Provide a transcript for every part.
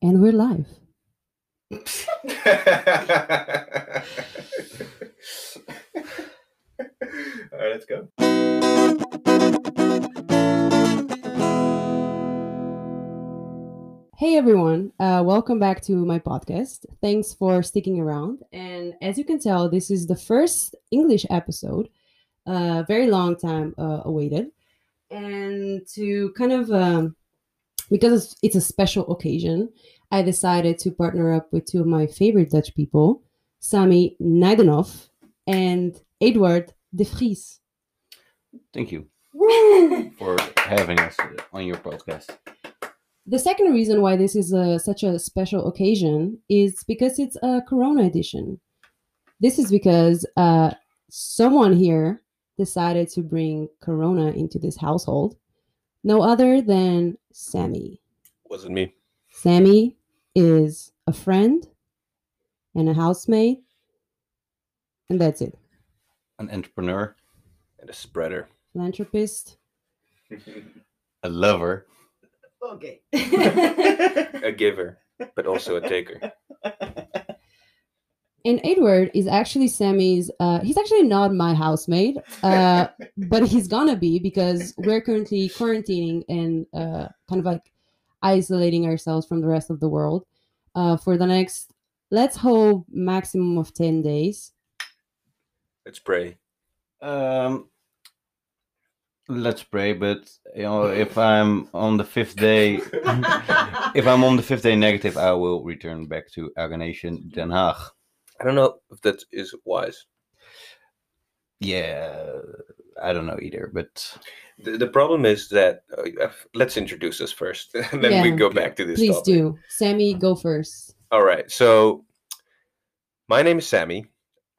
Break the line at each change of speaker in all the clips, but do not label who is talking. And we're live.
All right, let's go.
Hey everyone, uh, welcome back to my podcast. Thanks for sticking around. And as you can tell, this is the first English episode, uh, very long time uh, awaited. And to kind of, um, because it's- it's a special occasion, I decided to partner up with two of my favorite Dutch people, Sami Nijdenhoff and Eduard de Vries.
Thank you
Woo!
for having us on your podcast.
The second reason why this is a, such a special occasion is because it's a Corona edition. This is because uh, someone here decided to bring Corona into this household. No other than Sammy.
Wasn't me.
Sammy is a friend and a housemate, and that's it.
An entrepreneur,
And a spreader.
Philanthropist.
a lover,
Okay.
That's
A giver, but also a taker.
and Edward is actually Sammy's. Uh, he's actually not my housemate. Uh, but he's gonna be because we're currently quarantining and uh, kind of like isolating ourselves from the rest of the world uh, for the next let's hope maximum of 10 days
Let's pray.
um, let's pray. But you know, if I'm on the fifth day, if I'm on the fifth day negative, I will return back to our nation, Den Haag.
I don't know if that is wise.
Yeah, I don't know either, but
The, the problem is that uh, uh, let's introduce us first, and then we
Yeah.
go back to this.
please
topic.
do sammy go first
All right. So, my name is Sammy.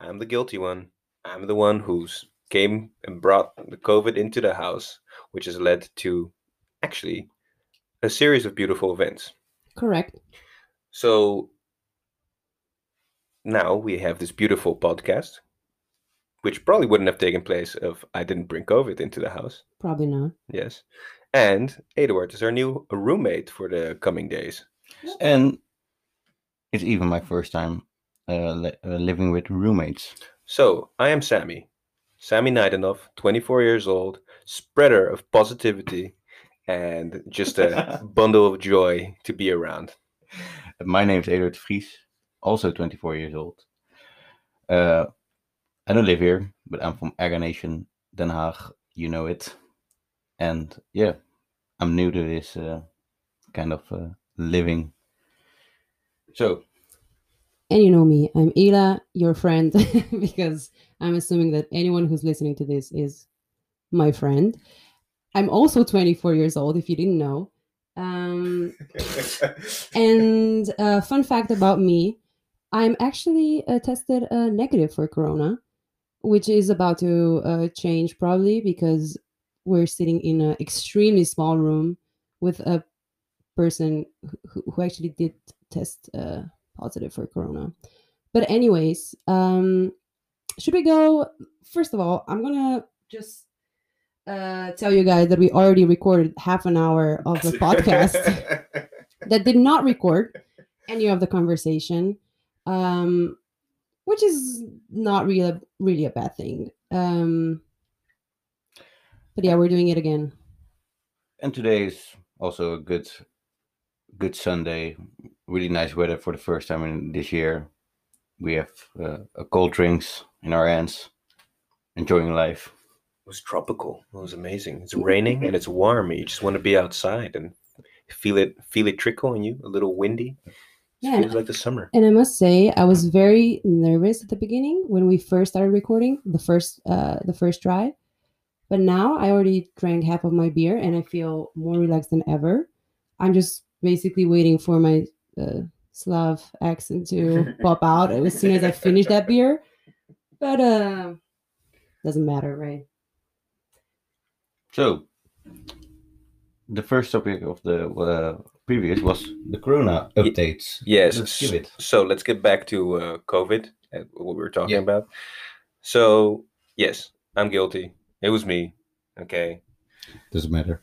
I'm the guilty one. I'm the one who's came and brought the COVID into the house, which has led to actually a series of beautiful events.
correct
So now we have this beautiful podcast, which probably wouldn't have taken place if I didn't bring COVID into the house.
probably not
Yes. And Eduard is our new roommate for the coming days.
and it's even my first time uh, li- uh, living with roommates.
So I am Sammy, Sammy Naidenov, 24 years old, spreader of positivity and just a bundle of joy to be around.
My name's Eduard Vries, also 24 years old. Uh, I don't live here, but I'm from Aga Nation, Den Haag. You know it. And yeah, I'm new to this uh, kind of uh, living. So,
and you know me i'm ila your friend because i'm assuming that anyone who's listening to this is my friend i'm also 24 years old if you didn't know um And uh, fun fact about me, I'm actually uh, tested uh, negative for corona, which is about to uh, change probably because we're sitting in an extremely small room with a person who, who actually did test uh, positive for corona. But anyways, um, should we go? First of all, I'm gonna just uh, tell you guys that we already recorded half an hour of the podcast that did not record any of the conversation, um, which is not really really a bad thing. Um, but yeah, we're doing it again.
and today is also a good, good Sunday. Really nice weather for the first time in this year. We have uh, a cold drinks in our hands, enjoying life.
It was tropical. It was amazing. It's raining and it's warm. You just want to be outside and feel it feel it trickle on you. A little windy. It
Yeah,
feels like the summer.
And I must say, I was very nervous at the beginning when we first started recording the first uh, the first try, but now I already drank half of my beer and I feel more relaxed than ever. I'm just basically waiting for my uh, Slav accent to pop out as soon as I finish that beer, but uh, doesn't matter, right?
So, the first topic of the uh, previous was the Corona
Ye-
updates.
Yes.
Let's give it.
So let's get back to uh, COVID, and what we were talking
Yeah.
about. So yes, I'm guilty. It was me. Okay.
Doesn't matter.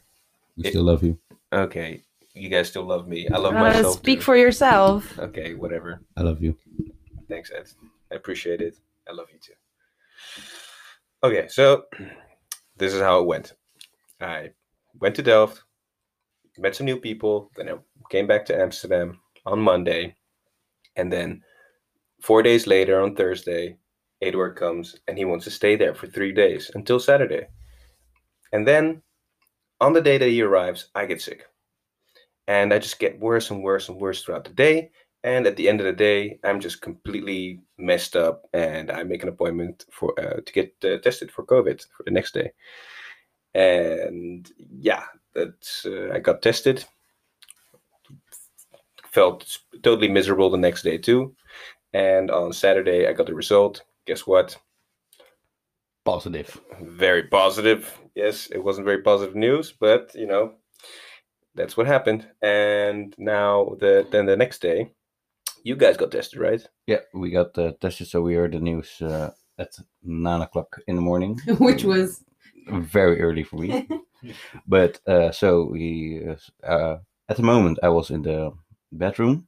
We
It-
still love you.
Okay. you guys still love me. I love
Uh,
myself.
speak
too.
for yourself.
Okay, whatever.
I love you.
Thanks, Ed. I appreciate it. I love you too. Okay, so this is how it went. I went to Delft, met some new people, then I came back to Amsterdam on Monday, and then four days later on Thursday, Edward comes and he wants to stay there for three days until Saturday. And then on the day that he arrives, I get sick. And I just get worse and worse and worse throughout the day. And at the end of the day, I'm just completely messed up, and I make an appointment for uh, to get uh, tested for COVID for the next day. And yeah, that's uh, I got tested. Felt s- totally miserable the next day too. And on Saturday, I got the result. Guess what?
Positive.
Very positive. Yes, it wasn't very positive news, but you know, that's what happened. And now the then the next day, you guys got tested, right?
Yeah, we got uh, tested, so we heard the news uh, at nine o'clock in the morning,
which was
very early for me. but uh, so we, uh, s- uh, at the moment, I was in the bedroom,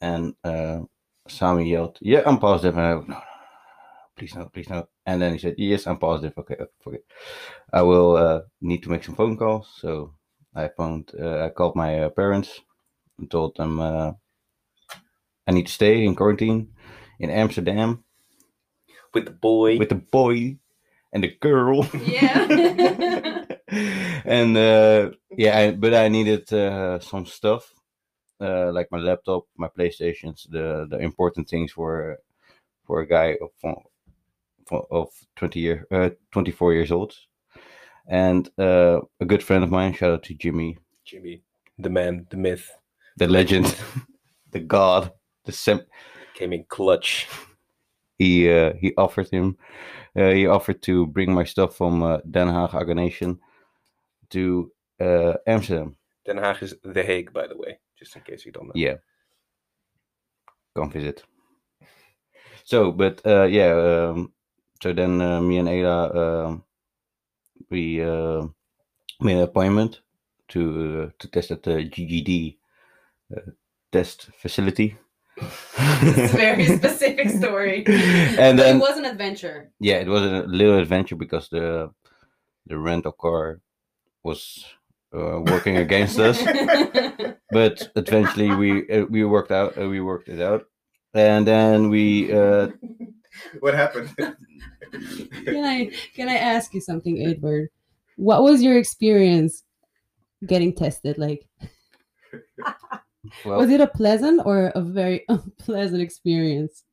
and uh, Sami yelled, "Yeah, I'm positive." And I went, no, no, no, no, please no, please no. And then he said, "Yes, I'm positive. Okay, okay, forget. I will uh, need to make some phone calls." So I phoned, uh, I called my uh, parents, and told them uh, I need to stay in quarantine in Amsterdam
with the boy.
with the boy and the girl.
yeah.
and uh, yeah, I, but I needed uh, some stuff uh, like my laptop, my PlayStations, the the important things for for a guy of fo- fo- of twenty year uh, twenty four years old, and uh, a good friend of mine. Shout out to Jimmy,
Jimmy, the man, the myth,
the legend, the god, the sem-
came in clutch.
he uh, he offered him uh, he offered to bring my stuff from uh, Den Haag Organization to uh, Amsterdam.
Den Haag is The Hague, by the way, just in case you don't know.
Yeah. Come visit. So, but uh, yeah, um, so then uh, me and Ada, um, we uh, made an appointment to uh, to test at the GGD uh, test facility.
It's a very specific story.
and
But
then
it was an adventure.
yeah, it was a little adventure because the the rental car was uh, working against us. But eventually we uh, we worked out uh, we worked it out, and then we uh,
what happened?
can I can I ask you something, Edward? What was your experience getting tested like?
well,
Was it a pleasant or a very unpleasant experience?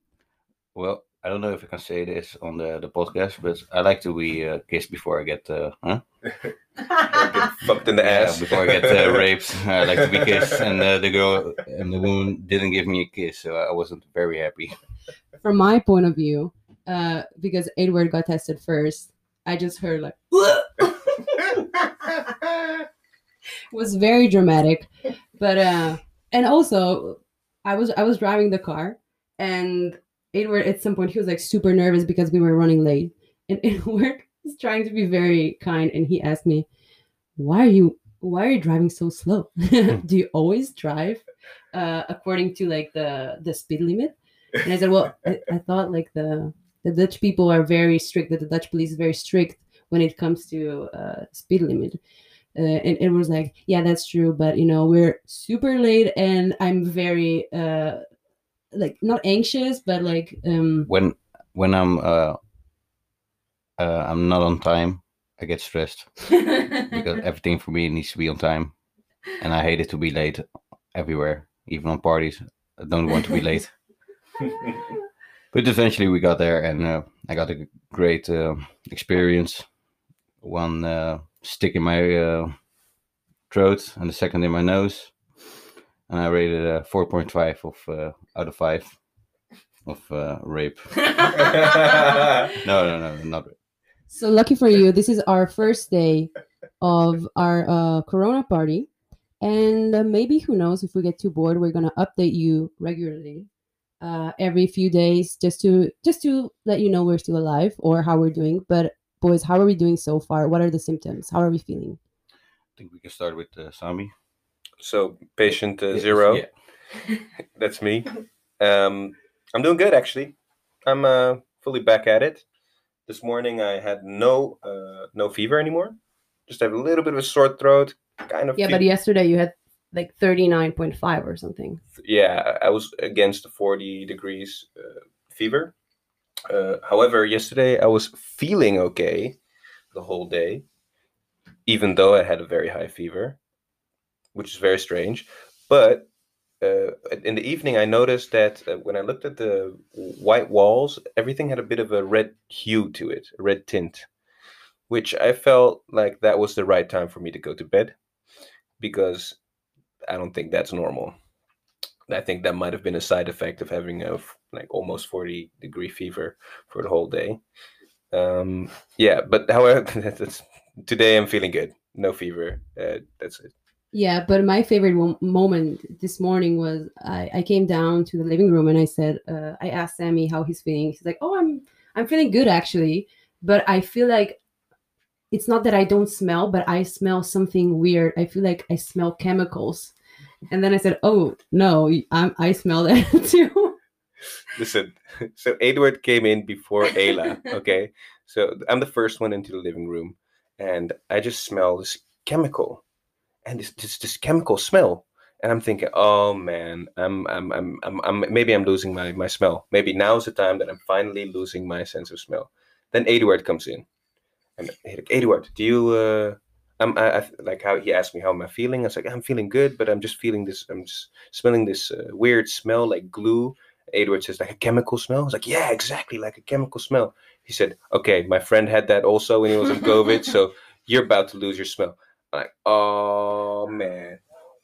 well I don't know if I can say this on the the podcast, but I like to be uh, kissed before I get uh, huh?
Or get fucked in the
Yeah,
ass
before I get uh, raped. I like to be kissed, and uh, the girl and the woman didn't give me a kiss, so I wasn't very happy.
From my point of view, uh, because Edward got tested first, I just heard like it was very dramatic. But uh and also I was I was driving the car and Edward at some point he was like super nervous because we were running late. And Edward was trying to be very kind and he asked me, Why are you why are you driving so slow? Do you always drive uh according to like the the speed limit? And I said, Well, I, I thought like the the Dutch people are very strict, that the Dutch police is very strict when it comes to uh, speed limit. Uh, and it was like, yeah, that's true, but you know, we're super late, and I'm very uh, like not anxious, but like um,
When when I'm uh, uh, I'm not on time, I get stressed. because everything for me needs to be on time, and I hate it to be late everywhere, even on parties. I don't want to be late. But eventually we got there, and uh, I got a g- great uh, experience. One uh, stick in my uh, throat, and the second in my nose, and I rated a four point five of uh, out of five of uh, rape. No, no, no, not rape.
So lucky for you, this is our first day of our uh, Corona party, and uh, maybe who knows if we get too bored, we're gonna update you regularly, uh, every few days, just to just to let you know we're still alive or how we're doing. But boys, how are we doing so far? What are the symptoms? How are we feeling?
I think we can start with uh, Sami.
So patient uh,
Yes,
zero.
yeah.
That's me. Um, I'm doing good actually. I'm uh, fully back at it. This morning I had no uh, no fever anymore. Just have a little bit of a sore throat, kind of.
Yeah, but
fever.
yesterday you had like 39.5 or something.
yeah, I was against the 40 degrees uh, fever. Uh, however, yesterday I was feeling okay the whole day, even though I had a very high fever, which is very strange. But uh, in the evening, I noticed that uh, when I looked at the white walls, everything had a bit of a red hue to it, a red tint, which I felt like that was the right time for me to go to bed because I don't think that's normal. I think that might have been a side effect of having a f- like almost 40 degree fever for the whole day. Um, yeah, but however, that's, that's, today I'm feeling good. No fever. Uh, that's it.
Yeah, but my favorite wo- moment this morning was I, I came down to the living room and I said uh, I asked Sammy how he's feeling. He's like, "Oh, I'm I'm feeling good actually, but I feel like it's not that I don't smell, but I smell something weird. I feel like I smell chemicals." And then I said, "Oh no, I, I smell that too."
Listen, so Edward came in before Ayla. Okay, so I'm the first one into the living room, and I just smell this chemical, and it's just this chemical smell. And I'm thinking, oh man, I'm, I'm, I'm, I'm, I'm, maybe I'm losing my, my smell. Maybe now's the time that I'm finally losing my sense of smell. Then Eduard comes in, and he's like, Eduard, do you, uh, I'm, I, I, like how he asked me how am I feeling. I was like, I'm feeling good, but I'm just feeling this, I'm just smelling this uh, weird smell like glue. Edward says, like a chemical smell. I was like, yeah, exactly, like a chemical smell. He said, okay, my friend had that also when he was on COVID, so you're about to lose your smell. I'm like, oh man.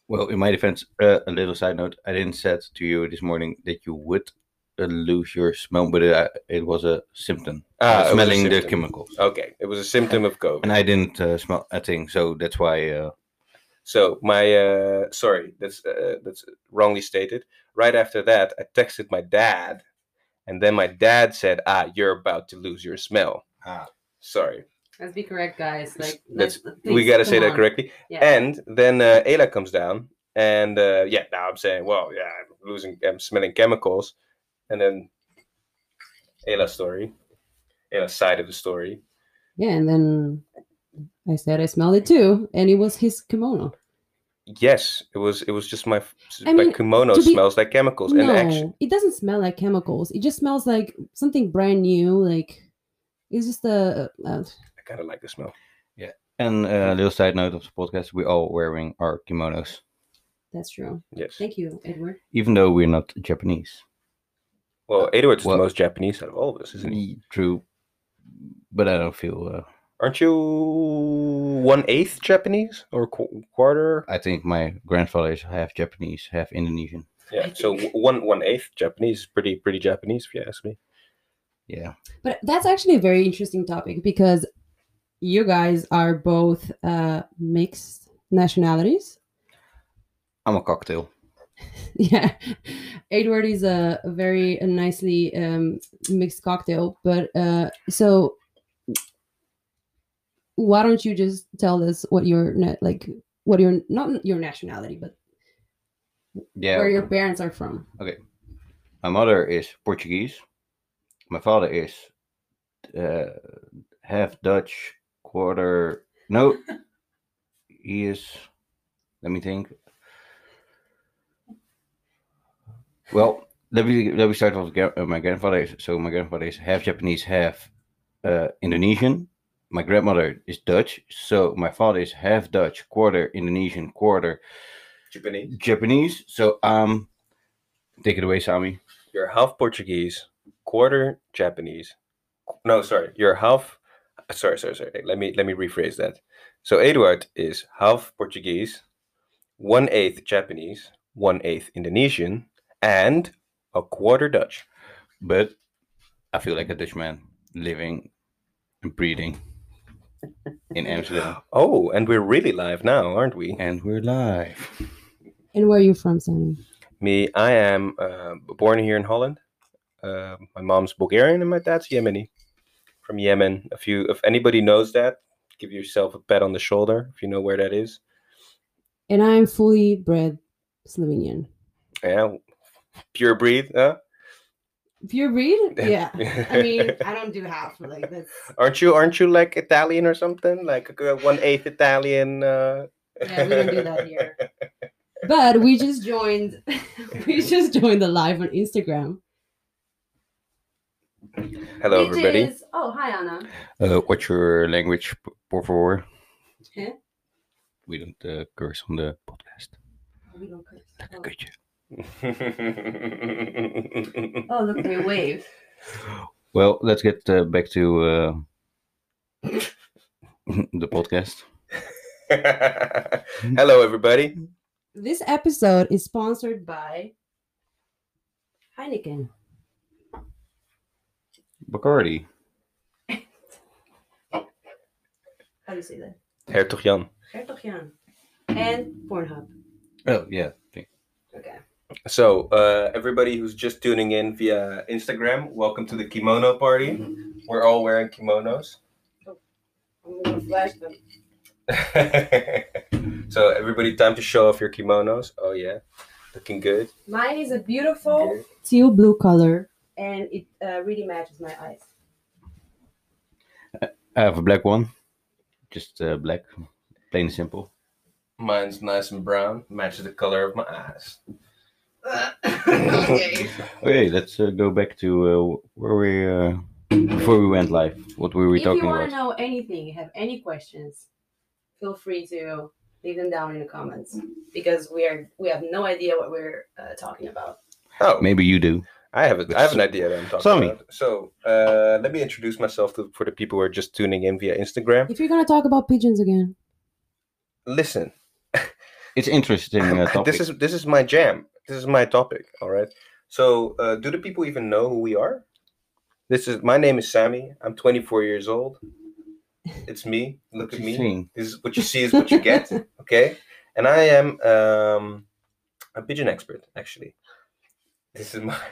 Well, in my defense, uh, a little side note: I didn't said to you this morning that you would uh, lose your smell, but uh, it was a symptom.
Ah, it was a
smelling the
symptom.
chemicals,
Okay, it was a symptom of COVID.
and I didn't uh, smell a thing, so that's why. Uh,
So my uh, sorry, that's uh, that's wrongly stated. Right after that, I texted my dad, and then my dad said, "Ah, you're about to lose your smell."
Ah.
Sorry,
Let's be correct, guys.
Like, Let's- we gotta say that correctly.
Yeah.
And then uh, Ayla comes down, and uh, yeah, now I'm saying, well, yeah, I'm losing, I'm smelling chemicals, and then Ayla's story, Ayla's side of the story.
Yeah, and then I said I smelled it too, and it was his kimono.
Yes, it was. It was just my f- s-
I
my
mean,
kimono
to be-
smells like chemicals,
no,
and actually,
it doesn't smell like chemicals. It just smells like something brand new. Like it's just a. a
I kind of like the smell.
and uh, a little side note of the podcast: we're all wearing our kimonos,
that's true.
Yes.
Thank you, Edward.
even though we're not Japanese.
Well, Edward's
Well- Mm.
the most Japanese out of all of us, isn't he?
Ye- True, but I don't feel. Uh,
Aren't you one eighth Japanese or qu- quarter?
I think my grandfather is half Japanese, half Indonesian.
Yeah. So w- one one eighth Japanese, is pretty pretty Japanese, if you ask me.
Yeah,
But that's actually a very interesting topic because you guys are both uh, mixed nationalities.
I'm a cocktail.
yeah, Edward is a a very nicely um, mixed cocktail. But uh, so, why don't you just tell us what your na- like what your not your nationality, but
Yeah,
where your parents are from?
My mother is Portuguese. My father is uh, half Dutch, quarter. No, he is. Let me think. Well, let me let me start off. with gra- uh, My grandfather is so. My grandfather is half Japanese, half uh, Indonesian. My grandmother is Dutch, so my father is half Dutch, quarter Indonesian, quarter
Japanese.
Japanese. So um, take it away, Sami.
You're half Portuguese, quarter Japanese. No, sorry, you're half. Sorry, sorry, sorry. Let me let me rephrase that. So Eduard is half Portuguese, one eighth Japanese, one eighth Indonesian, and a quarter Dutch.
but I feel like a Dutchman living and breathing in Amsterdam.
Oh, and we're really live now, aren't we?
And we're live.
And where are you from, Sammy?
Me, I am uh, born here in Holland. Uh, my mom's Bulgarian and my dad's Yemeni, from Yemen. If you, if anybody knows that, give yourself a pat on the shoulder if you know where that is.
and I'm fully bred Slovenian.
Yeah, pure breed, huh?
Pure breed? Yeah. I mean, I don't do half. Like that's
aren't you aren't you like Italian or something? Like one eighth Italian. Uh...
yeah, we don't do that here. But we just joined. we just joined the live on Instagram.
Hello,
which
everybody.
Is... Oh, hi Anna.
Uh, what's your language, p- por favor?
Huh?
We don't uh, curse on the podcast.
We don't curse.
Lekker
Oh.
kutje.
Oh, look, we wave.
Well, let's get uh, back to uh, the podcast.
Hello, everybody.
This episode is sponsored by Heineken.
Bacardi.
How do you say that?
Hertog Jan.
Hertog Jan. And Pornhub.
Oh yeah. thank-
Okay.
So, uh, everybody who's just tuning in via Instagram, welcome to the kimono party. We're all wearing kimonos.
I'm gonna flash them.
so, everybody, time to show off your kimonos. Oh, yeah. Looking good.
Mine is a
Looking
beautiful
good.
teal blue color, and it uh, really matches my eyes.
I have a black one. Just uh, black, plain and simple.
Mine's nice and brown, matches the color of my eyes.
Okay, let's uh, go back to uh, where we uh, before we went live. What were we
if
talking
you want
about?
to know anything, have any questions, feel free to leave them down in the comments because we are we have no idea what we're uh, talking about.
Oh,
Maybe you do.
I have a, I have an
So-
idea that I'm talking
Sammy.
about. So uh, let me introduce myself to, for the people who are just tuning in via Instagram.
If you're gonna talk about pigeons again,
Listen,
It's interesting uh, topic.
this is this is my jam. This is my topic. All right. So uh, do the people even know who we are? This is my name is Sammy. I'm 24 years old. It's me. Look at me.
Interesting.
This is what you see is what you get. Okay. And I am um, a pigeon expert, actually. This is my.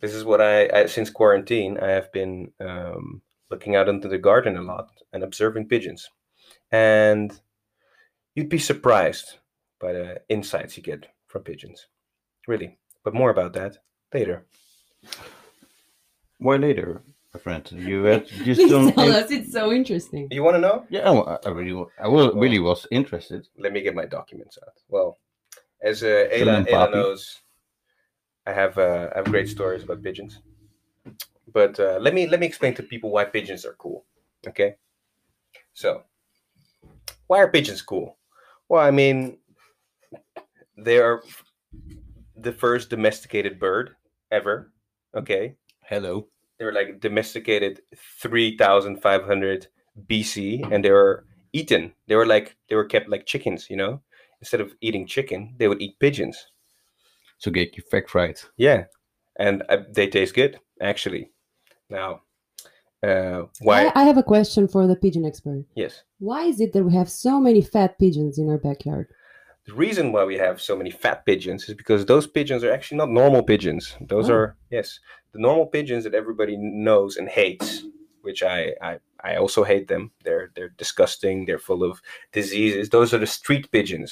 This is what I, I since quarantine I have been um, looking out into the garden a lot and observing pigeons, and you'd be surprised by the insights you get from pigeons, really. But more about that later.
Why later, my friend? You had just
please
don't.
tell
in-
us. It's so interesting.
You want to know?
Yeah, well, I I really, wa- I was, really was interested.
let me get my documents out. Well, as uh,
Fill in,
Ayla, Ayla
Papi.
knows, I have uh, I have great stories about pigeons. But uh, let me let me explain to people why pigeons are cool. Okay, so why are pigeons cool? Well, I mean, they are the first domesticated bird ever. Okay,
Hello.
they were like domesticated 3500 bc and they were eaten they were like they were kept like chickens you know instead of eating chicken they would eat pigeons
So get your fact right.
yeah and uh, they taste good actually now uh why
I, I have a question for the pigeon expert.
yes
Why is it that we have so many fat pigeons in our backyard?
the reason why we have so many fat pigeons is because those pigeons are actually not normal pigeons those
Oh.
are yes the normal pigeons that everybody knows and hates which I, I i also hate them they're they're disgusting they're full of diseases those are the street pigeons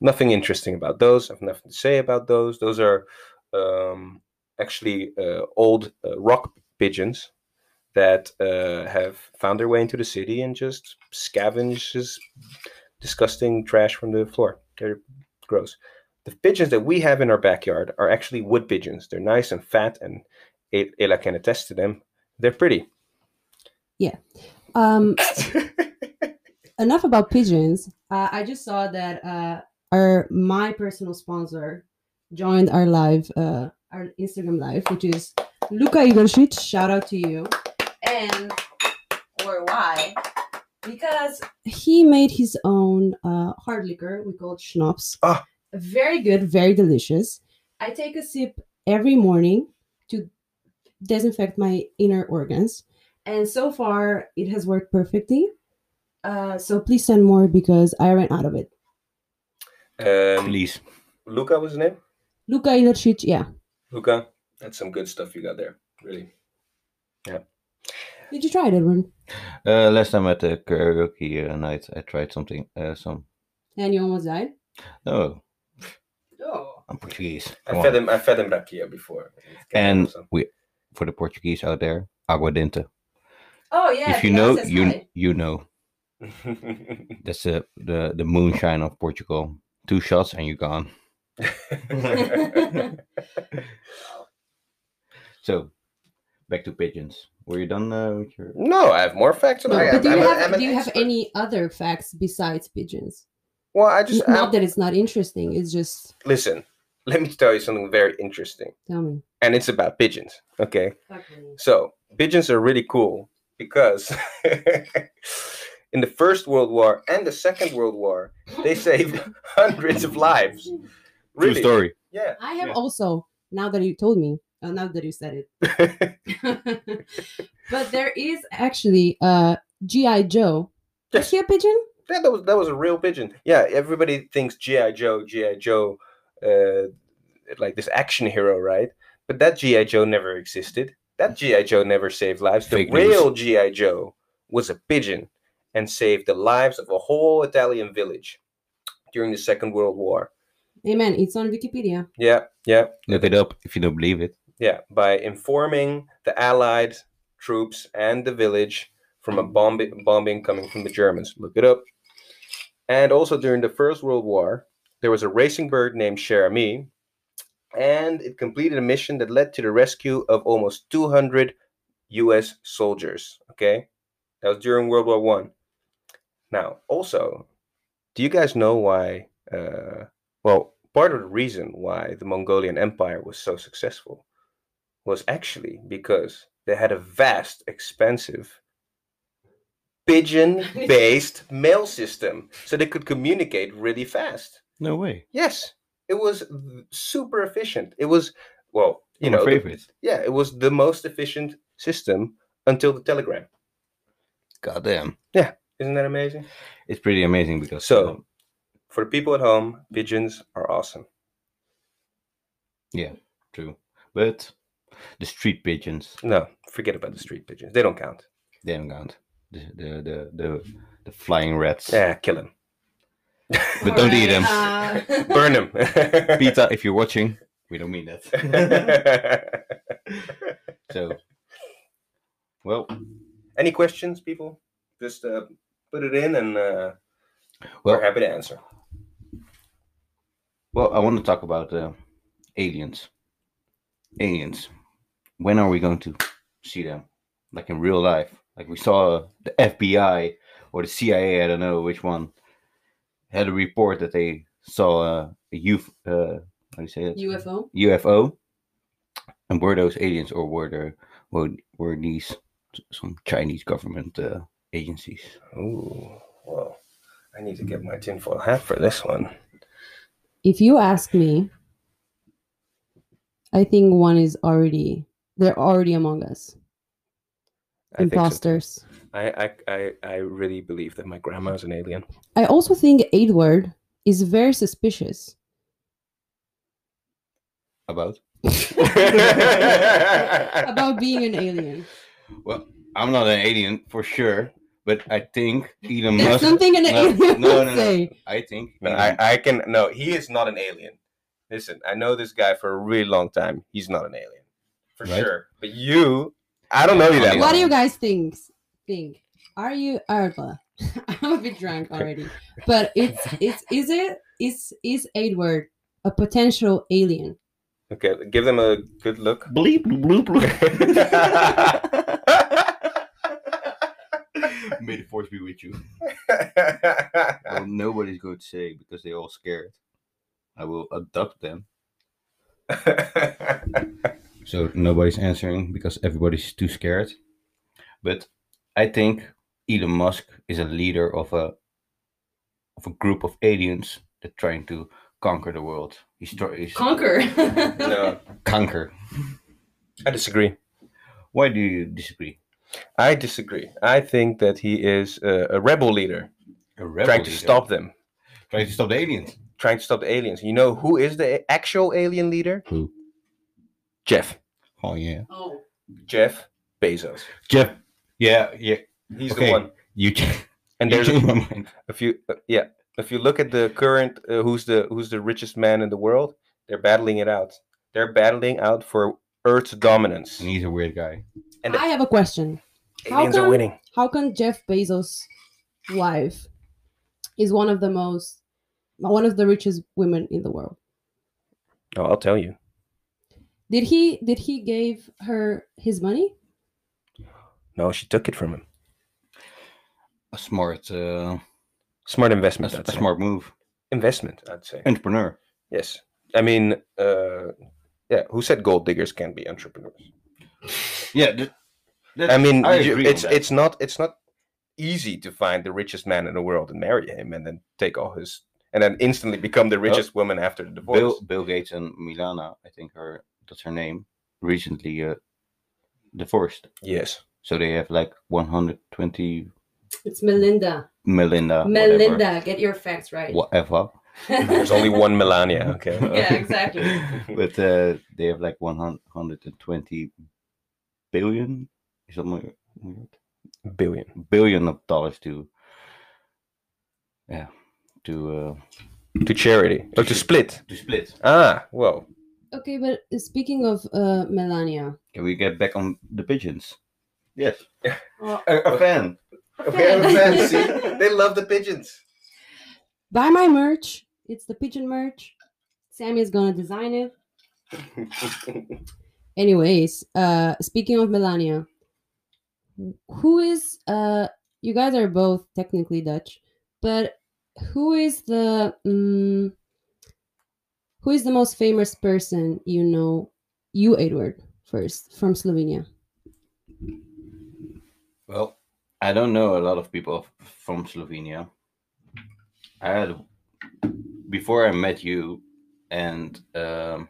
nothing interesting about those i have nothing to say about those those are um actually uh, old uh, rock pigeons that uh, have found their way into the city and just scavenges disgusting trash from the floor. They're gross. The pigeons that we have in our backyard are actually wood pigeons. They're nice and fat, and E- Ella can attest to them. They're pretty.
Um, enough about pigeons. Uh, I just saw that uh, our my personal sponsor joined our live, uh, our Instagram live, which is Luka Igoršić. Shout out to you. And or why? Because he made his own uh, hard liquor. We call it schnapps.
Ah.
Very good, very delicious. I take a sip every morning to disinfect my inner organs. And so far, it has worked perfectly. Uh, so please send more because I ran out of it.
Um,
Please.
Luca was his name.
Luka Ilercic, yeah.
Luca, that's some good stuff you got there. Really.
Did you try it, Edwin?
Uh, last time at the karaoke uh, night, I tried something, uh, some
and you almost died?
No,
Oh.
I'm Portuguese. Come
I
on.
fed him. I fed him rakia before. It's kind of
And
awesome.
we, for the Portuguese out there, aguardente.
Oh yeah.
if you
the
know,
glasses
you
guy.
you know. That's the the the moonshine of Portugal. Two shots and you're gone. So, back to pigeons. Were you done uh, with your?
no, I have more facts.
No,
about
but
it.
do you,
I'm a- I'm
have,
an
do you have
expert.
any other facts besides pigeons?
Well, I just
Not
I'm-
that it's not interesting, it's just
listen. Let me tell you something very interesting,
tell me.
and it's about pigeons. Okay. So pigeons are really cool because in the First World War and the Second World War, they saved hundreds of lives. Really?
True story.
Yeah.
I have
Yeah.
also, now that you told me, uh, now that you said it, but there is actually uh GI Joe. Is
Yes.
he a pigeon?
Yeah, that was that was a real pigeon. Yeah, everybody thinks GI Joe, GI Joe, uh, like this action hero, right? But that GI Joe never existed. That GI Joe never saved lives. The
Fake news.
real GI Joe was a pigeon and saved the lives of a whole Italian village during the Second World War.
Amen. It's on Wikipedia.
Yeah, yeah.
Look it up if you don't believe it.
Yeah, by informing the Allied troops and the village from a bombing, bombing coming from the Germans. Look it up. And also during the First World War, there was a racing bird named Cher Ami, and it completed a mission that led to the rescue of almost 200 U.S. soldiers. Okay, that was during World War One. Now, also, do you guys know why? Uh, well, part of the reason why the Mongolian Empire was so successful was actually because they had a vast, expansive pigeon based mail system so they could communicate really fast.
No way.
Yes, it was v- super efficient. It was, well, you
You're my
know, the-
favorite.
yeah, it was the most efficient system until the telegram.
Goddamn.
Isn't that amazing?
It's pretty amazing because
So-
um,
For the people at home, pigeons are awesome.
true. But the street pigeons,
No, forget about the street pigeons. They don't count.
they don't count. The the the the, the flying rats.
Yeah, kill them.
But don't eat them.
Uh,
Burn them.
Peter, if you're watching, we don't mean that. so, well,
Any questions, people? Just uh, put it in and uh,
well,
we're happy to answer.
well. I want to talk about uh, aliens. Aliens. When are we going to see them? Like in real life? Like we saw the FBI or the CIA? I don't know which one had a report that they saw a, a UFO. Uh, how do you say it?
UFO.
UFO, and were those aliens or were there were, were these s- some Chinese government uh, agencies?
Ooh, well, I need to get my tinfoil hat for this one.
If you ask me, I think one is already they're already among us.
I think so.
Imposters.
I, I, I, I really believe that my grandma is an alien.
I also think Edward is very suspicious.
About
about being an alien.
well, I'm not an alien for sure, but I think Elon
There's
Musk.
something an
no,
alien
no,
would
no, no.
say.
I think
No,
Elon-
I, I can no. He is not an alien. Listen, I know this guy for a really long time. He's not an alien, for
Right.
sure. But you, I don't know you that.
Yeah.
What do
well.
you guys think? Think? Are you Arba? I'm a bit drunk already. But it's it's is it is is Edward a potential alien?
Okay, give them a good look.
bleep bloop bloop. May the force be with you. Well, nobody's going to say because they're all scared. I will abduct them. So nobody's answering because everybody's too scared. But I think Elon Musk is a leader of a of a group of aliens that trying to conquer the world. He's, try- he's
Conquer.
no,
conquer.
I disagree.
Why do you disagree?
I disagree. I think that he is a, a rebel leader,
A rebel
trying to
leader.
stop them,
trying to stop the aliens.
trying to stop the aliens. You know who is the a- actual alien leader?
Who?
Jeff.
Oh yeah,
Oh.
Jeff Bezos.
Jeff. Yeah, yeah.
He's
Okay.
the one.
You, ch-
And
you
there's
changed my mind.
a few. uh, yeah, If you look at the current, uh, who's the who's the richest man in the world? They're battling it out. They're battling out for Earth's dominance.
And he's a weird guy.
And the-
I have a question. How
Aliens are
come-
winning.
How can Jeff Bezos' wife is one of the most one of the richest women in the world?
Oh, I'll tell you.
Did he did he gave her his money?
No, she took it from him.
A smart, uh,
Smart
a,
investment.
s-
I'd
a
say.
smart move.
investment. I'd say.
Entrepreneur.
Yes. I mean, uh, yeah. Who said gold diggers can't be entrepreneurs?
Yeah. th- that-
I mean,
I
you-
agree on
it's
that.
it's not it's not easy to find the richest man in the world and marry him, and then take all his, and then instantly become the richest woman after the divorce.
Bill, Bill Gates and Milana, I think her that's her name, recently uh, divorced.
Yes.
So they have like 120
It's Melinda.
Melinda. uh, whatever,
Melinda, get your facts right.
Whatever.
There's only one Melania. Okay.
Yeah, exactly.
but uh, they have like 120 billion, something weird,
Billion.
billion of dollars to, yeah, to uh,
To charity. Or to split.
to split.
Ah, well.
Okay, but speaking of uh, Melania,
Can we get back on the pigeons? Yes.
Well-
a, a fan.
We have a fan, see? They love the pigeons.
buy my merch. It's the pigeon merch. Sammy is gonna design it. Anyways, uh, speaking of Melania, who is uh, you guys are both technically Dutch, but who is the um, who is the most famous person you know? You Edward first from Slovenia.
Well, I don't know a lot of people f- from Slovenia. I had before I met you and um,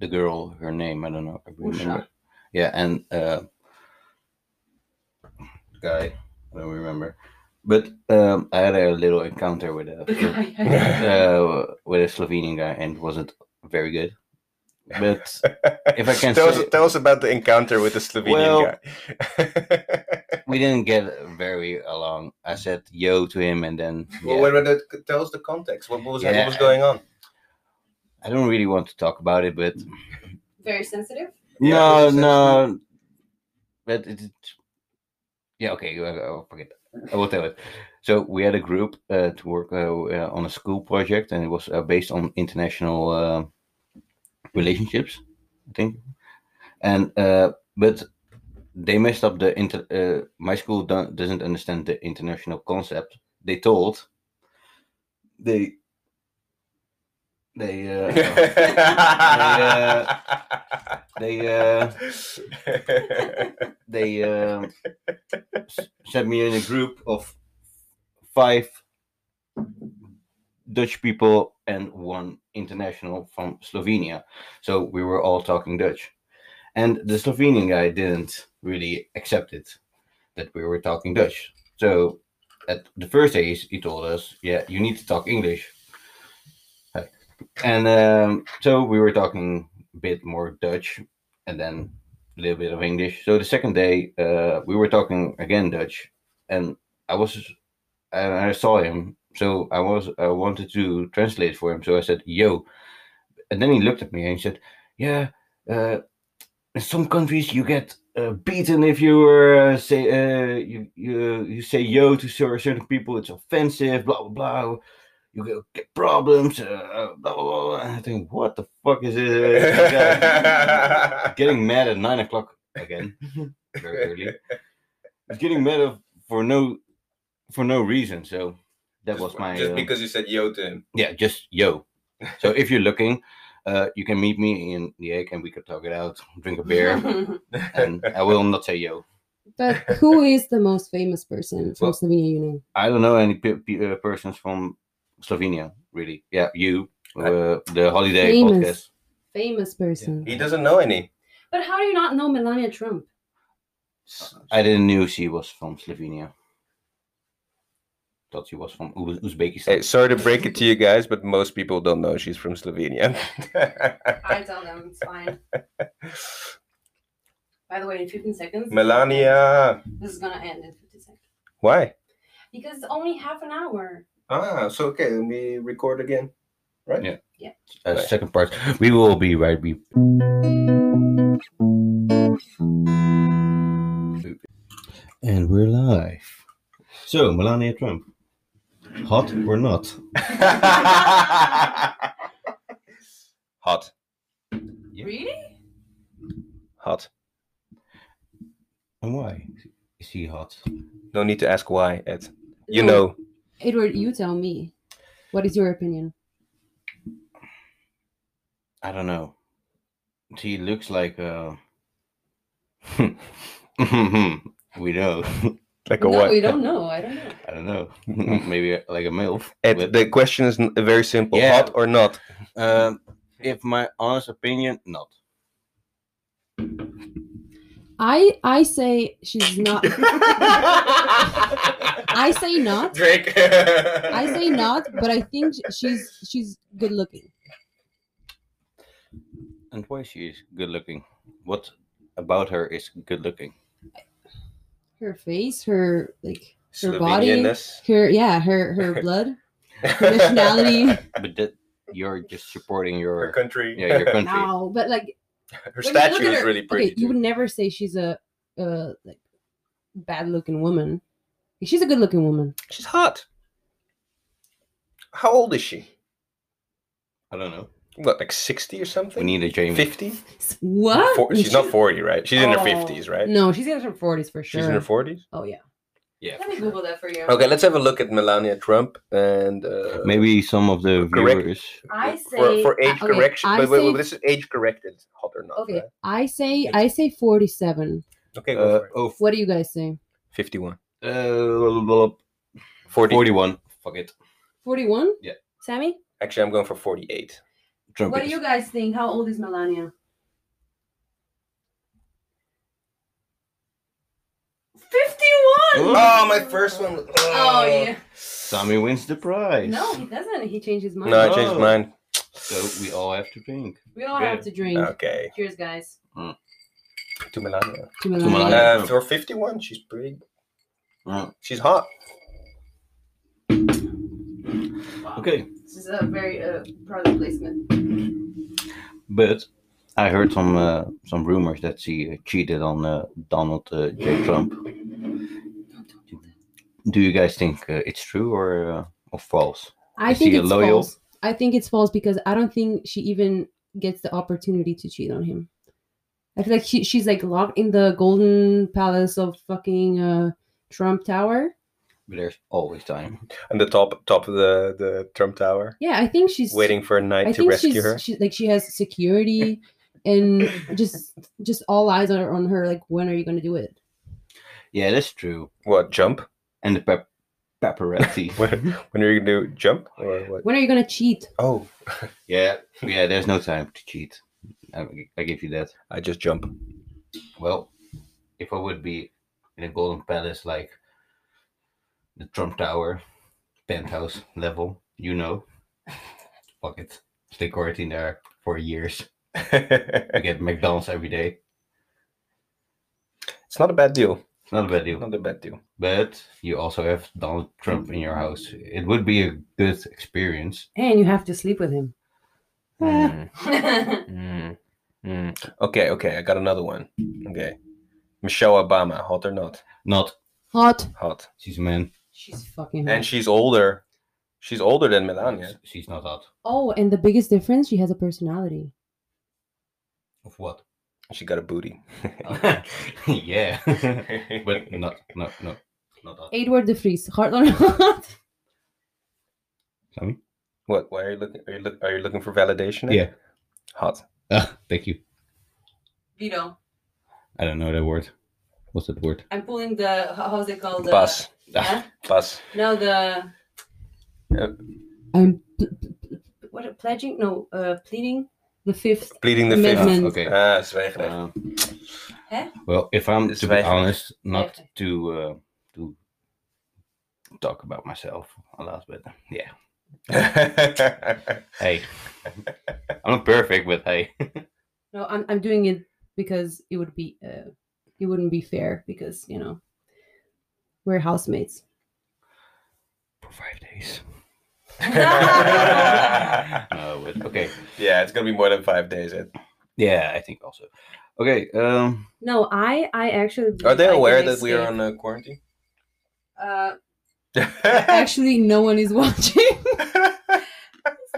the girl, her name I don't know. I remember. Yeah, and uh, guy, I don't remember. But um, I had a little encounter with a uh, with a Slovenian guy, and it wasn't very good. But if I can
tell,
say-
us, tell us about the encounter with the Slovenian
Well-
guy.
we didn't get very along. I said yo to him, and then
Well,
yeah.
what about the- tell us the context. What, what was what
Yeah.
was going on?
I don't really want to talk about it, but
Very sensitive.
Yeah,
no,
it's-
no, but it, it- yeah, okay, I- I'll forget. I will tell it. So we had a group uh, to work uh, uh, on a school project, and it was uh, based on international uh, relationships, I think. And uh, but they messed up the inter. Uh, my school don't, doesn't understand the international concept. They told they they uh, they uh, they um, s- sent me in a group of five Dutch people and one international from Slovenia. So we were all talking Dutch. And the Slovenian guy didn't really accept it that we were talking Dutch. So at the first day, he s- he told us, Yeah, you need to talk English. And um, so we were talking a bit more Dutch and then a little bit of English. So the second day, uh, we were talking again Dutch, and I was, and I saw him. So I was, I wanted to translate for him. So I said, "Yo," and then he looked at me and he said, "Yeah, uh, in some countries you get uh, beaten if you uh, say uh, you you you say yo to cer- certain people. It's offensive. Blah blah blah." You get- get problems, uh, blah, blah, blah. And I think, what the fuck is this guy getting mad at nine o'clock again, very early. He's getting mad of, for no for no reason. So that was my
just
uh,
because you said yo to him.
yeah, just yo. So if you're looking, uh, you can meet me in the egg and we could talk it out, drink a beer,
uh,
and I will not say yo.
but who is the most famous person from
Well-
Slovenia? You know.
I don't know any pe- pe- uh, persons from Slovenia really. Yeah, you uh, the holiday
Famous.
podcast.
famous person.
He doesn't know any.
But how do you not know Melania Trump?
I didn't knew she was from Slovenia. Thought she was from Uz- Uzbekistan.
Hey, sorry to break it to you guys, but most people don't know she's from Slovenia.
tell them it's fine. By the way, in 15 seconds.
Melania.
This is gonna end in 15 seconds
Why?
because it's only half an hour.
Ah, so okay, we record again.
Uh, second part. We will be right. Be- and we're live. So, Melania Trump, hot or not?
Hot.
Yeah.
Really?
Hot.
And why is she hot?
No need to ask why, Ed. You know.
Edward, you tell me. What is your opinion?
I don't know. She looks like uh, a. we know.
Like a
no,
what?
we don't know. I don't know.
I don't know. Maybe like a MILF.
Ed,
but-
the question is n- very simple.
Yeah.
Hot or not?
Um, if my honest opinion, not.
I I say she's not. I say not.
Drake.
I say not, but I think sh- she's she's good looking.
And why she is good looking? What about her is good looking?
Her face, her like Her body.
Slovenianness.
her yeah, her her blood, nationality.
But that you're just supporting
Her
your
country.
yeah your country.
no, but like
Her
when you look
statue
at
is
her-
really pretty.
Okay, you would
too.
never say she's a uh like bad looking woman. She's a good looking woman.
She's hot. How old is she?
I don't know.
What, like 60 or something?
We need a Jamie.
50?
S- What?
Four- she's not
She-
40, right? She's in her
Oh.
50s, right?
No, she's in her forties for sure.
She's in her 40s?
Oh yeah.
Yeah.
Let me Google that for you.
Okay, let's have a look at Melania Trump and uh,
Maybe some of the
Correct.
viewers.
I
for- for,
say uh,
age
okay,
correction.
I
Wait, wait,
say-
wait, this is age corrected, hot or not?
Okay,
right?
I say I say forty-seven.
Okay, go
Uh,
for it.
oh,
What do you guys say?
51.
uh,
40.
forty-one. Fuck it.
Forty-one.
Yeah.
Sammy,
Actually, I'm going for 48.
Trump
what do
is.
you guys think? How old is Melania? Fifty-one.
Oh, my first one. was-
Oh yeah.
Sammy wins the prize.
No, he doesn't. He changed his mind.
No, I changed
Oh.
mine.
So we all have to drink.
we all
Yeah.
have to drink.
Okay,
Cheers, guys.
Oh, to Melania.
To Melania.
Melania. Yeah.
Uh, for 51, she's pretty.
Uh,
She's hot.
Okay,
This is a very uh, product placement.
but I heard some uh, some rumors that she cheated on uh, Donald uh, J. Trump. Do you guys think uh, it's true or uh, or false?
I
Is
think
she a
it's
loyal?
false. I think it's false because I don't think she even gets the opportunity to cheat on him. I feel like she, she's like locked in the golden palace of fucking uh, Trump Tower.
But there's always time.
On the top top of the, the Trump Tower,
Yeah, I think she's
waiting for a
I
knight to
think
rescue
she's
her.
she like she has security and just just all eyes are on her. Like when are you gonna do it?
Yeah, that's true.
What, jump?
And the pap- paparazzi.
When, when are you going to do jump? Or what?
When are you gonna cheat?
Oh,
yeah, yeah. There's no time to cheat. I, I give you that.
I just jump.
Well, if I would be in a golden palace like the Trump Tower, penthouse level, you know, fuck it, stay quarantined there for years. I
it's
get McDonald's every day.
not a bad deal.
It's not a bad deal,
Not a bad deal.
but you also have Donald Trump in your house. It would be a good experience.
And you have to sleep with him.
Mm, mm. Mm-hmm. Okay, okay, I got another one. Okay. Michelle Obama, hot or not?
Not
Hot.
Hot.
she's a man.
She's fucking. Hot.
And she's older. She's older than Melania.
She's not hot.
oh, and the biggest difference, she has a personality.
Of what?
She got a booty.
yeah, but not no no not hot.
Edward de Vries, hard or not?
Sammy?
what? Why are you looking? Are you, look, are you looking for validation?
Yeah.
Hot.
Ah, thank you.
Vito,
I don't know that word. What's that word?
I'm pulling the how- how's it called? The,
Bus.
Yeah.
Bus.
No, the.
Uh,
I'm p- p- p- what pledging? No, uh, pleading the fifth.
Pleading the fifth.
Amendment.
okay.
Ah, zwijgrecht.
Um,
Hè?
well, if I'm
Dus
to be
wij-
honest, not
Wij-
to uh, to talk about myself a lot, but yeah, hey, I'm not perfect, but hey,
No, I'm I'm doing it because it would be uh, it wouldn't be fair because you know we're housemates.
for five days.
yeah,
No, but okay.
it's gonna be more than five days. I-
Yeah, I think also. Okay. Um.
No, I I actually believe I
Are they
can
aware that we are
escape.
on uh, quarantine?
Uh,
yeah,
Actually, no one is watching.
it's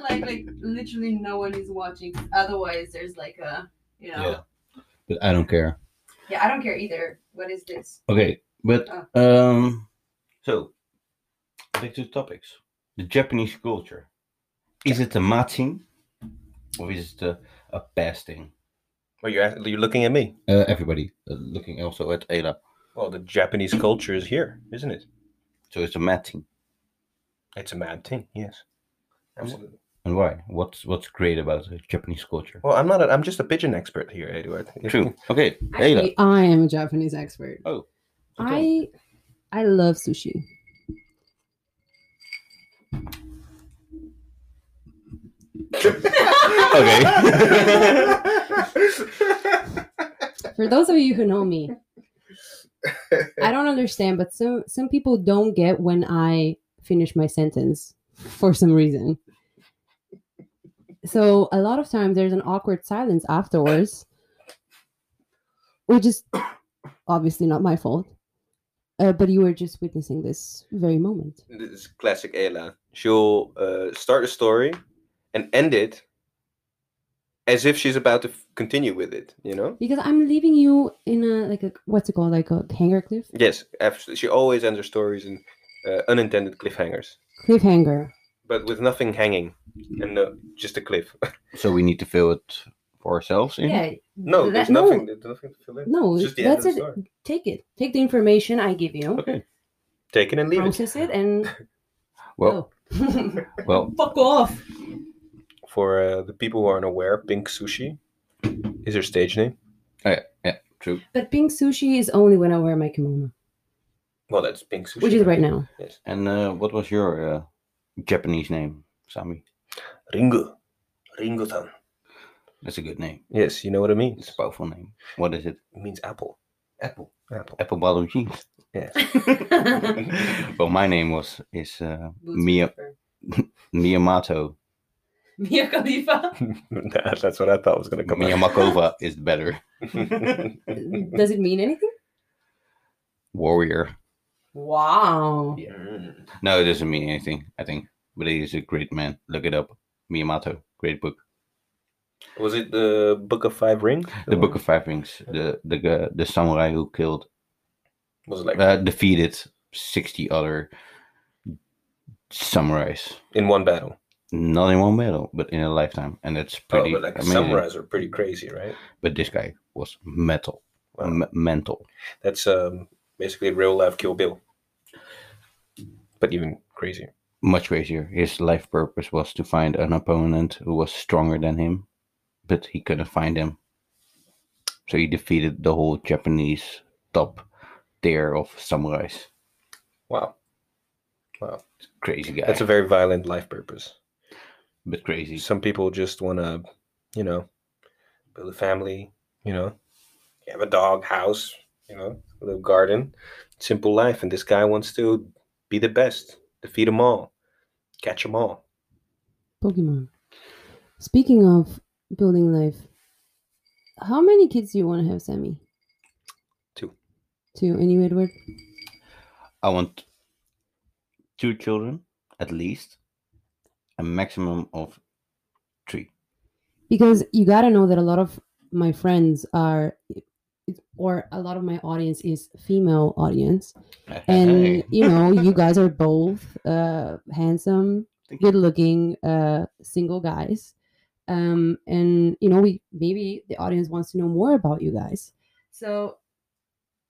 like like literally no one is watching. Otherwise, there's like a you know.
Yeah.
Yeah,
But I don't care.
I don't care either. What is this?
Okay. But um. So, back to topics. The Japanese culture. Is it a matting, or is it a, a past thing?
well, you're ask- you're looking at me.
Uh, everybody uh, looking also at Ela.
Well, the Japanese culture is here, isn't it?
So it's a matting.
It's a mad thing. Yes, absolutely.
And why? What's what's great about the Japanese culture?
Well, I'm not. A, I'm just a pigeon expert here, Eduard.
True. Okay. Ela.
Actually, I am a Japanese expert.
Oh,
I I love sushi. For those of you who know me, I don't understand, but some some people don't get when I finish my sentence for some reason. So a lot of times there's an awkward silence afterwards, which is obviously not my fault. Uh, but you were just witnessing this very moment.
This is classic Ela. She'll uh, start a story and end it as if she's about to f- continue with it. You know.
Because I'm leaving you in a like a what's it called like a hanger cliff
Yes, absolutely. She always ends her stories in uh, unintended cliffhangers,
cliffhanger.
but with nothing hanging and uh, just a cliff.
So we need to fill it for ourselves. In?
Yeah,
no, there's
that- no.
nothing. There's nothing to fill in.
No,
It's just the end
that's
of the
it.
story.
Take it. Take the information I give you.
Okay.
Take it and leave it
Process it and
Well,
oh.
well,
fuck off.
for uh, the people who aren't aware. Pink sushi is her stage name.
true.
But pink sushi is only when I wear my kimono,
Well, that's pink sushi.
which is right now.
Yes.
And uh, what was your uh, Japanese name, Sami?
Ringo. Ringo-san.
That's a good name.
Yes, you know what it
It's
means.
a powerful name. What is it?
It means apple. Apple. Apple.
Apple bottom jeans.
Yes.
well, my name was is uh,
Boots
Mia-
Khalifa.
Miyamoto.
Mia Khalifa.
That- that's what I thought was going to come
Miyamakova is better.
out.
Does it mean anything?
Warrior.
Wow.
Mm.
No, it doesn't mean anything. I think, but he is a great man. Look it up. Miyamoto, great book.
Was it the Book of Five Rings?
The Book of Five Rings. The the gu- the samurai who killed,
Was it like
uh, defeated sixty other samurais.
in one battle?
Not in one battle, but in a lifetime, and it's pretty
oh, but like
amazing.
samurais are pretty crazy, right?
But this guy was metal,
Wow.
m- mental.
That's um, basically real life Kill Bill, but even crazier.
Much crazier. His life purpose was to find an opponent who was stronger than him, but he couldn't find him. So he defeated the whole Japanese top tier of samurais.
Wow,
Crazy guy,
that's a very violent life purpose.
but crazy.
Some people just want to, you know, build a family. You know, have a dog, house, you know, a little garden, simple life. And this guy wants to be the best, defeat them all, catch them all.
Pokemon. Speaking of building life, how many kids do you want to have, Sammy?
Two.
Two. And you, Edward?
I want two children at least, a maximum of three.
Because you got to know that a lot of my friends are, or a lot of my audience is female audience. and you know you guys are both uh handsome
Thank you.
good looking uh single guys um and you know we maybe the audience wants to know more about you guys so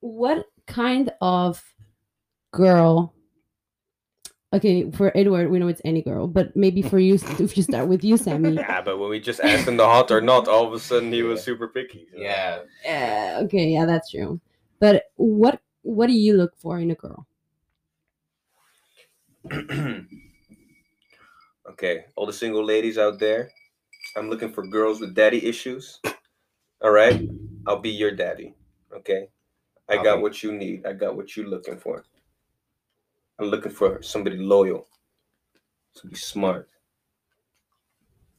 what kind of girl okay for edward we know it's any girl but maybe for you if you start with you sammy
Yeah, but when we just asked him the hot or not, all of a sudden he was super picky. so-
yeah,
uh, okay yeah that's true but what what do you look for in a girl
okay, all the single ladies out there, I'm looking for girls with daddy issues. All right, I'll be your daddy. Okay, I got
Okay.
what you need. I got what you're looking for. I'm looking for somebody loyal, somebody smart,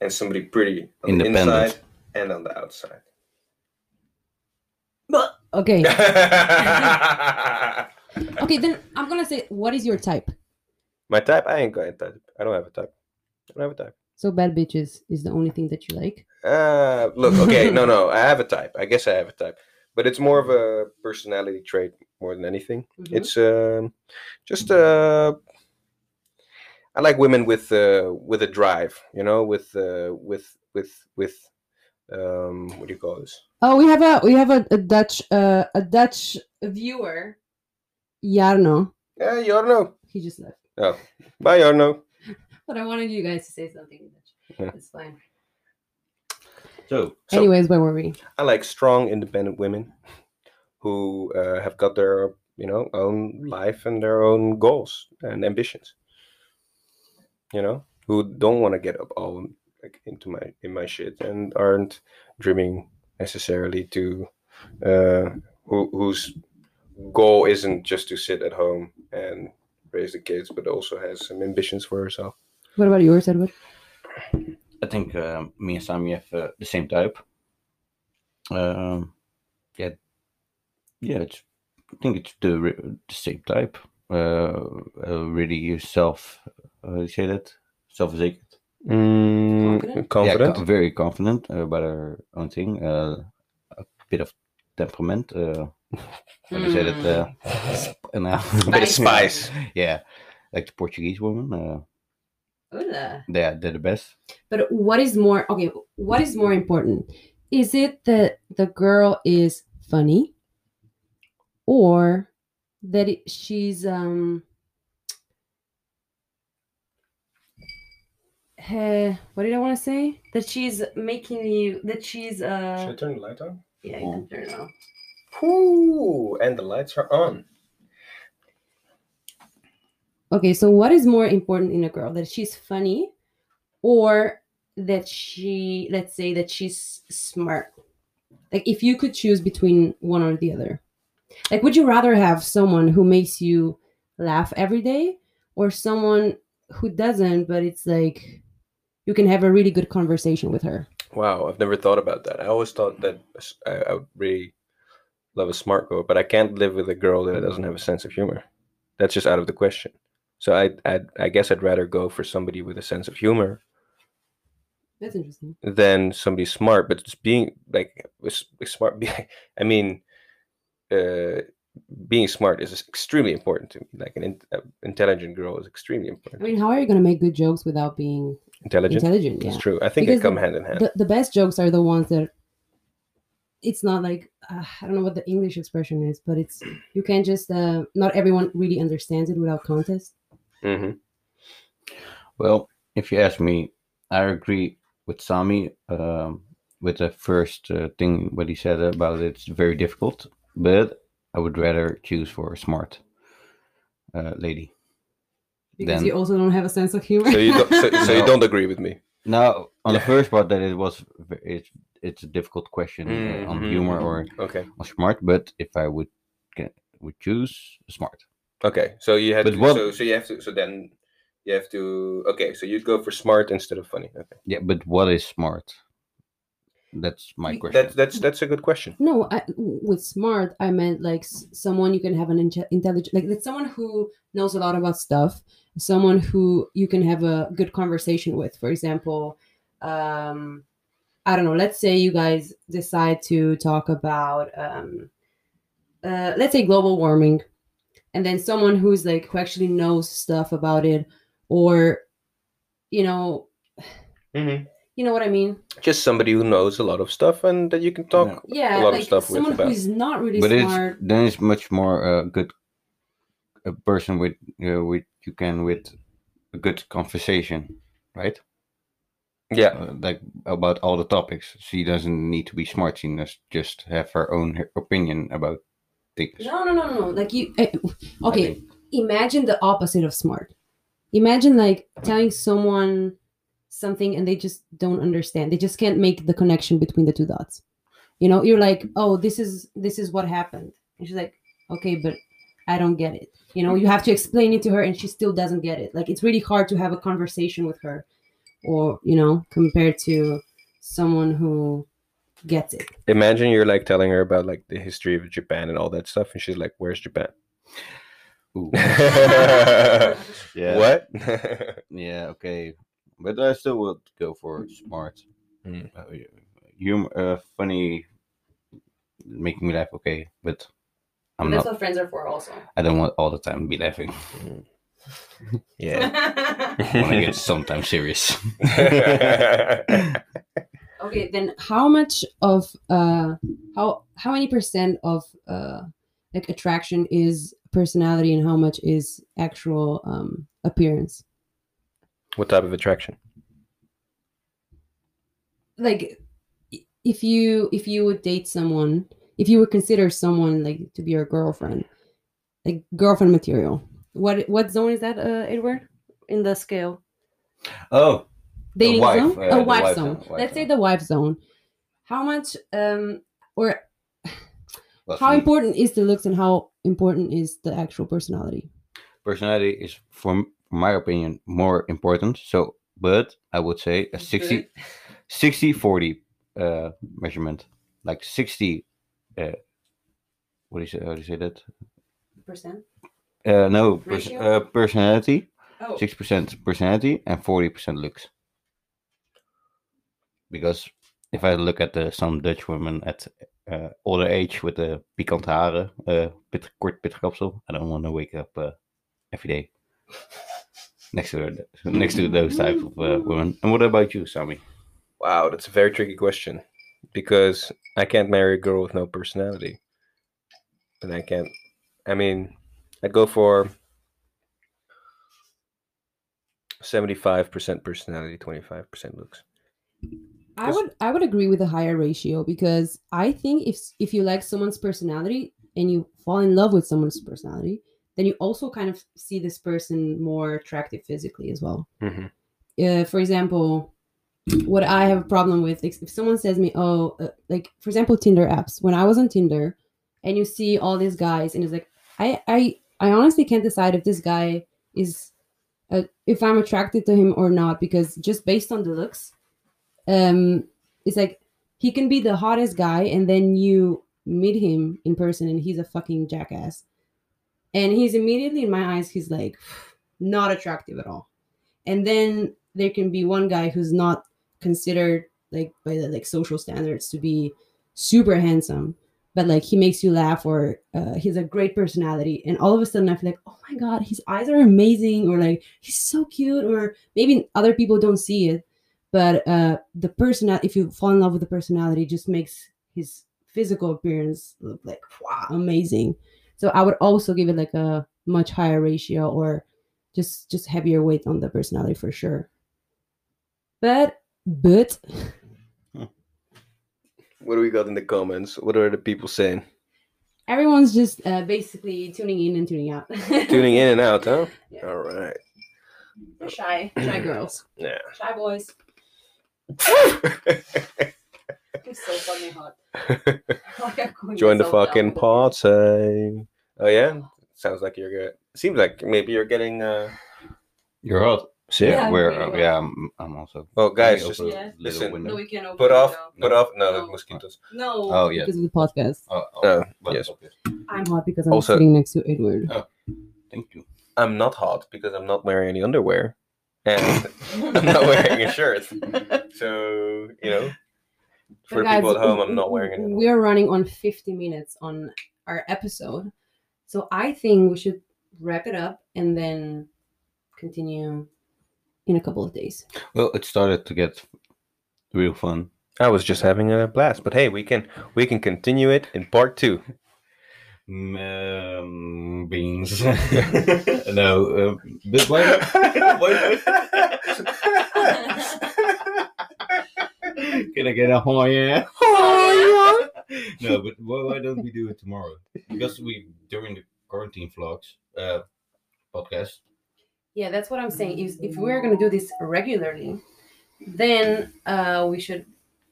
and somebody pretty on the
Independent.
inside and on the outside.
Okay. Okay, then I'm gonna say, what is your type?
My type, I ain't got a type. I don't have a type. I don't have a type.
So bad bitches is the only thing that you like.
Uh, look, okay, no, no, I have a type. I guess I have a type, but it's more of a personality trait more than anything.
Mm-hmm.
It's um, just uh, I like women with uh, with a drive, you know, with uh, with with with um, what do you call this?
Oh, we have a we have a, a Dutch uh, a Dutch
Viewer.
Jarno.
Yeah, Jorno.
He just left.
Bye, Jorno.
But I wanted you guys to say something in Dutch.
Yeah.
It's fine.
So
So-
Anyways, where were we?
I like strong, independent women who uh, have got their you know own life and their own goals and ambitions. You know, who don't want to get up all like, into my in my shit and aren't dreaming necessarily to uh, who whose goal isn't just to sit at home and raise the kids, but also has some ambitions for herself.
What about yours, Edward?
I think um, me and Sammy have uh, the same type. Um, yeah, yeah. It's, I think it's the, re- the same type. Uh, uh, really eh, yourself. How do you say that? Self-secure.
Mm,
Confident?
confident.
Yeah, co- very confident about her own thing. Uh, a bit of temperament. Uh, how do you say that? Uh, sp- and, uh,
Bit of
Spice.
spice.
yeah, like the Portuguese woman. Uh,
Hola.
they're they're the best.
But what is more okay? What is more important? Is it that the girl is funny, or that it, she's um, eh, what did I want to say? That she's making you. That she's uh,
turn the light on?
Yeah, you can turn it off.
Ooh, and the lights are on.
okay. So what is more important in a girl? That she's funny, or that she let's say that she's smart. Like if you could choose between one or the other. Like, would you rather have someone who makes you laugh every day or someone who doesn't, but it's like you can have a really good conversation with her?
Wow, I've never thought about that. I always thought that s- I, I would really love a smart girl, but I can't live with a girl that doesn't have a sense of humor. That's just out of the question. So I, I, I guess I'd rather go for somebody with a sense of humor
That's interesting.
than somebody smart. But just being like s- smart, be- I mean, uh, being smart is extremely important to me. Like an in, uh, intelligent girl is extremely
I
important.
mean, how are you going to make good jokes without being
Intelligent,
intelligent?
that's
Yeah.
true. I think they
Because the-
come hand in hand.
The, the best jokes are the ones that it's not like, uh, I don't know what the English expression is, but it's, you can't just, uh, not everyone really understands it without context.
hmm
Well, if you ask me, I agree with Sami um, with the first uh, thing what he said about it's very difficult, but I would rather choose for a smart uh, lady.
Because
Then-
you also don't have a sense of humor.
So you don't, so, so you
No.
don't agree with me.
Now, on the
Yeah.
first part, that it was ve- it's it's a difficult question uh, on
Mhm,
humor
mhm.
or,
Okay.
or smart, but if I would ca- would choose smart,
Okay. So you had
But
to,
what-
so so you have to so then you have to okay, so you'd go for smart instead of funny. Okay.
yeah. But what is smart? That's my
You-
question.
That's that's that's a good question.
No, I, with smart, I meant like s- someone you can have an inte- intelligent, like that's someone who knows a lot about stuff, someone who you can have a good conversation with. For example, um, I don't know, let's say you guys decide to talk about, um, uh, let's say global warming, and then someone who's like, who actually knows stuff about it, or, you know,
Mm-hmm.
you know what I mean?
Just somebody who knows a lot of stuff and that you can talk.
Yeah,
lot of
like
stuff with
someone
about-
who's not really
but
smart.
it's then it's much more a good a person with uh, with you can with a good conversation right
Yeah.
uh, like about all the topics she doesn't need to be smart she must just have her own h- opinion about things
No, no, no, no. no. Like you, eh,
I
okay.
think.
Imagine the opposite of smart. Imagine like telling someone something and they just don't understand. They just can't make the connection between the two dots. You know, you're like, oh, this is this is what happened, and she's like, okay, but I don't get it. You know, you have to explain it to her and she still doesn't get it. Like it's really hard to have a conversation with her or, you know, compared to someone who gets it.
Imagine you're like telling her about like the history of Japan and all that stuff, and she's like, "Where's Japan?"
Ooh. yeah.
What?
Yeah, okay. But I still would go for smart.
Mm.
Uh, humor, uh, funny, making me laugh, okay. But I'm
That's
not,
what friends are for, also.
I don't want all the time to be laughing.
yeah.
I want to get sometimes serious.
Okay, then how much of uh how how many percent of uh like attraction is personality and how much is actual um appearance?
what type of attraction?
Like i- if you if you would date someone, if you would consider someone like to be your girlfriend, like girlfriend material. What what zone is that, uh, Edward? In the scale.
oh,
dating
wife,
zone,
yeah,
a
the
wife, zone.
wife zone, wife
Let's say
zone.
the wife zone. How much um or how
well, for me,
important is the looks and how important is the actual personality?
personality is, for m- my opinion, more important. So, but I would say a 60, 60 40 uh, measurement. Like 60, uh, what do you say, how do you say that?
Percent.
Uh, no, pers-
Ratio?
uh, personality,
Oh,
6% personality, and 40% looks. Because if I look at uh, some Dutch women at uh, older age with the pikant haren, uh, pit, kort pittkapsel, I don't want to wake up uh, every day next to her, next to those type of uh, women. And what about you, Sammy?
Wow, that's a very tricky question because I can't marry a girl with no personality. And I can't. I mean, I'd go for 75% personality, 25% looks.
I
Yes.
would I would agree with a higher ratio because I think if s- if you like someone's personality and you fall in love with someone's personality, then you also kind of see this person more attractive physically as well.
Mhm.
Uh, for example, what I have a problem with is if someone says me, "Oh, uh, like for example, Tinder apps." When I was on Tinder, and you see all these guys, and it's like I I I honestly can't decide if this guy is uh, if I'm attracted to him or not because just based on the looks, um, it's like he can be the hottest guy, and then you meet him in person, and he's a fucking jackass, and he's immediately in my eyes, he's like not attractive at all, and then there can be one guy who's not considered like by the like social standards to be super handsome but like he makes you laugh or uh, he's a great personality and all of a sudden i feel like oh my god his eyes are amazing or like he's so cute or maybe other people don't see it but uh the person if you fall in love with the personality just makes his physical appearance look like wow amazing so i would also give it like a much higher ratio or just just heavier weight on the personality for sure but but
What do we got in the comments? What are the people saying?
everyone's just uh, basically tuning in and tuning out
Tuning in and out, huh?
Yeah.
All right.
They're shy,
shy girls
Yeah.
shy boys. You're so fucking hot. Like, I'm going
Join the
so down
fucking
with it.
party. Oh, yeah? Sounds like you're good. Seems like maybe you're getting. uh
You're hot.
Sick.
Yeah, I'm
we're,
pretty
uh,
hot.
yeah, I'm, I'm also.
Well, guys,
Let me
just
open a
Yeah.
little
Listen.
window.
No, we can open
put
it
off,
now.
put off. No, the
No.
mosquitoes.
No.
Oh, yeah.
because of the podcast
Oh,
Uh,
but-
yes.
i'm hot because i'm
Also-
sitting next to edward
Thank you.
I'm not hot because I'm not wearing any underwear, and I'm not wearing a shirt. So you know, for
But guys,
people at home,
w-
I'm not wearing any.
w-
underwear.
We're running on 50 minutes on our episode. So I think we should wrap it up and then continue in a couple of days.
Well, it started to get real fun.
I was just having a blast, but hey, we can we can continue it in part two.
Mm, um, beans. no, um, but why? Can I get a oh yeah?
Oh,
no, but why, why don't we do it tomorrow? Because we during the quarantine vlogs uh, podcast.
Yeah, that's what I'm saying. Is if we're gonna do this regularly, then uh we should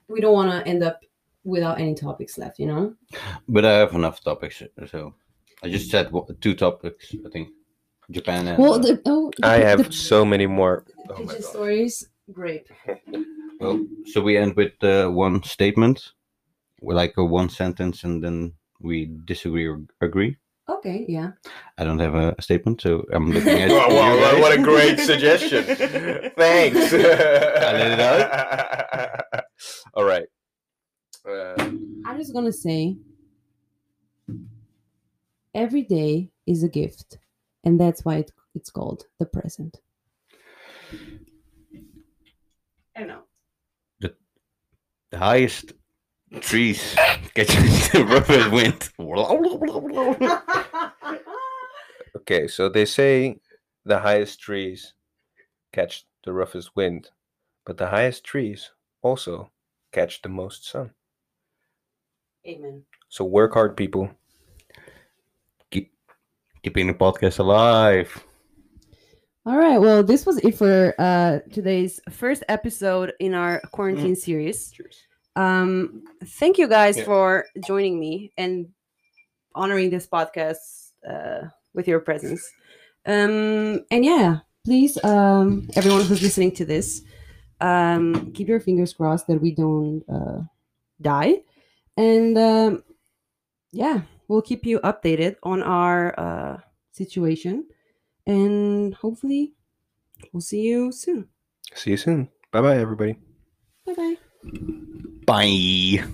we don't wanna end up without any topics left, you know?
But I have enough topics, so I just said wha- two topics, I think. Japan and.
Well,
uh,
the, oh, the-
I
the-
have so many more. Oh my
Pigeon
God.
stories, grape.
well, so we end with uh, one statement, with like a one sentence, and then we disagree or agree.
okay, yeah.
I don't have a, a statement, so I'm looking at.
Wow,
you
wow, wow,
guys.
what a great suggestion. Thanks.
let it
All right. Uh,
I'm just gonna say every day is a gift, and that's why it, it's called the present.
I know.
The highest trees catches the rubber wind.
okay, so they say the highest trees catch the roughest wind, but the highest trees also catch the most sun.
Amen.
So work hard, people.
Keeping the podcast alive.
All right. Well, this was it for uh, today's first episode in our quarantine
Mm.
series.
Cheers.
Um, thank you guys
Yeah.
for joining me and honoring this podcast uh, with your presence. Um, and yeah, please, um, everyone who's listening to this, um, keep your fingers crossed that we don't uh, die. And um, yeah, we'll keep you updated on our uh, situation. And hopefully, we'll see you soon.
See you soon. Bye bye, everybody.
Bye bye.
Bye.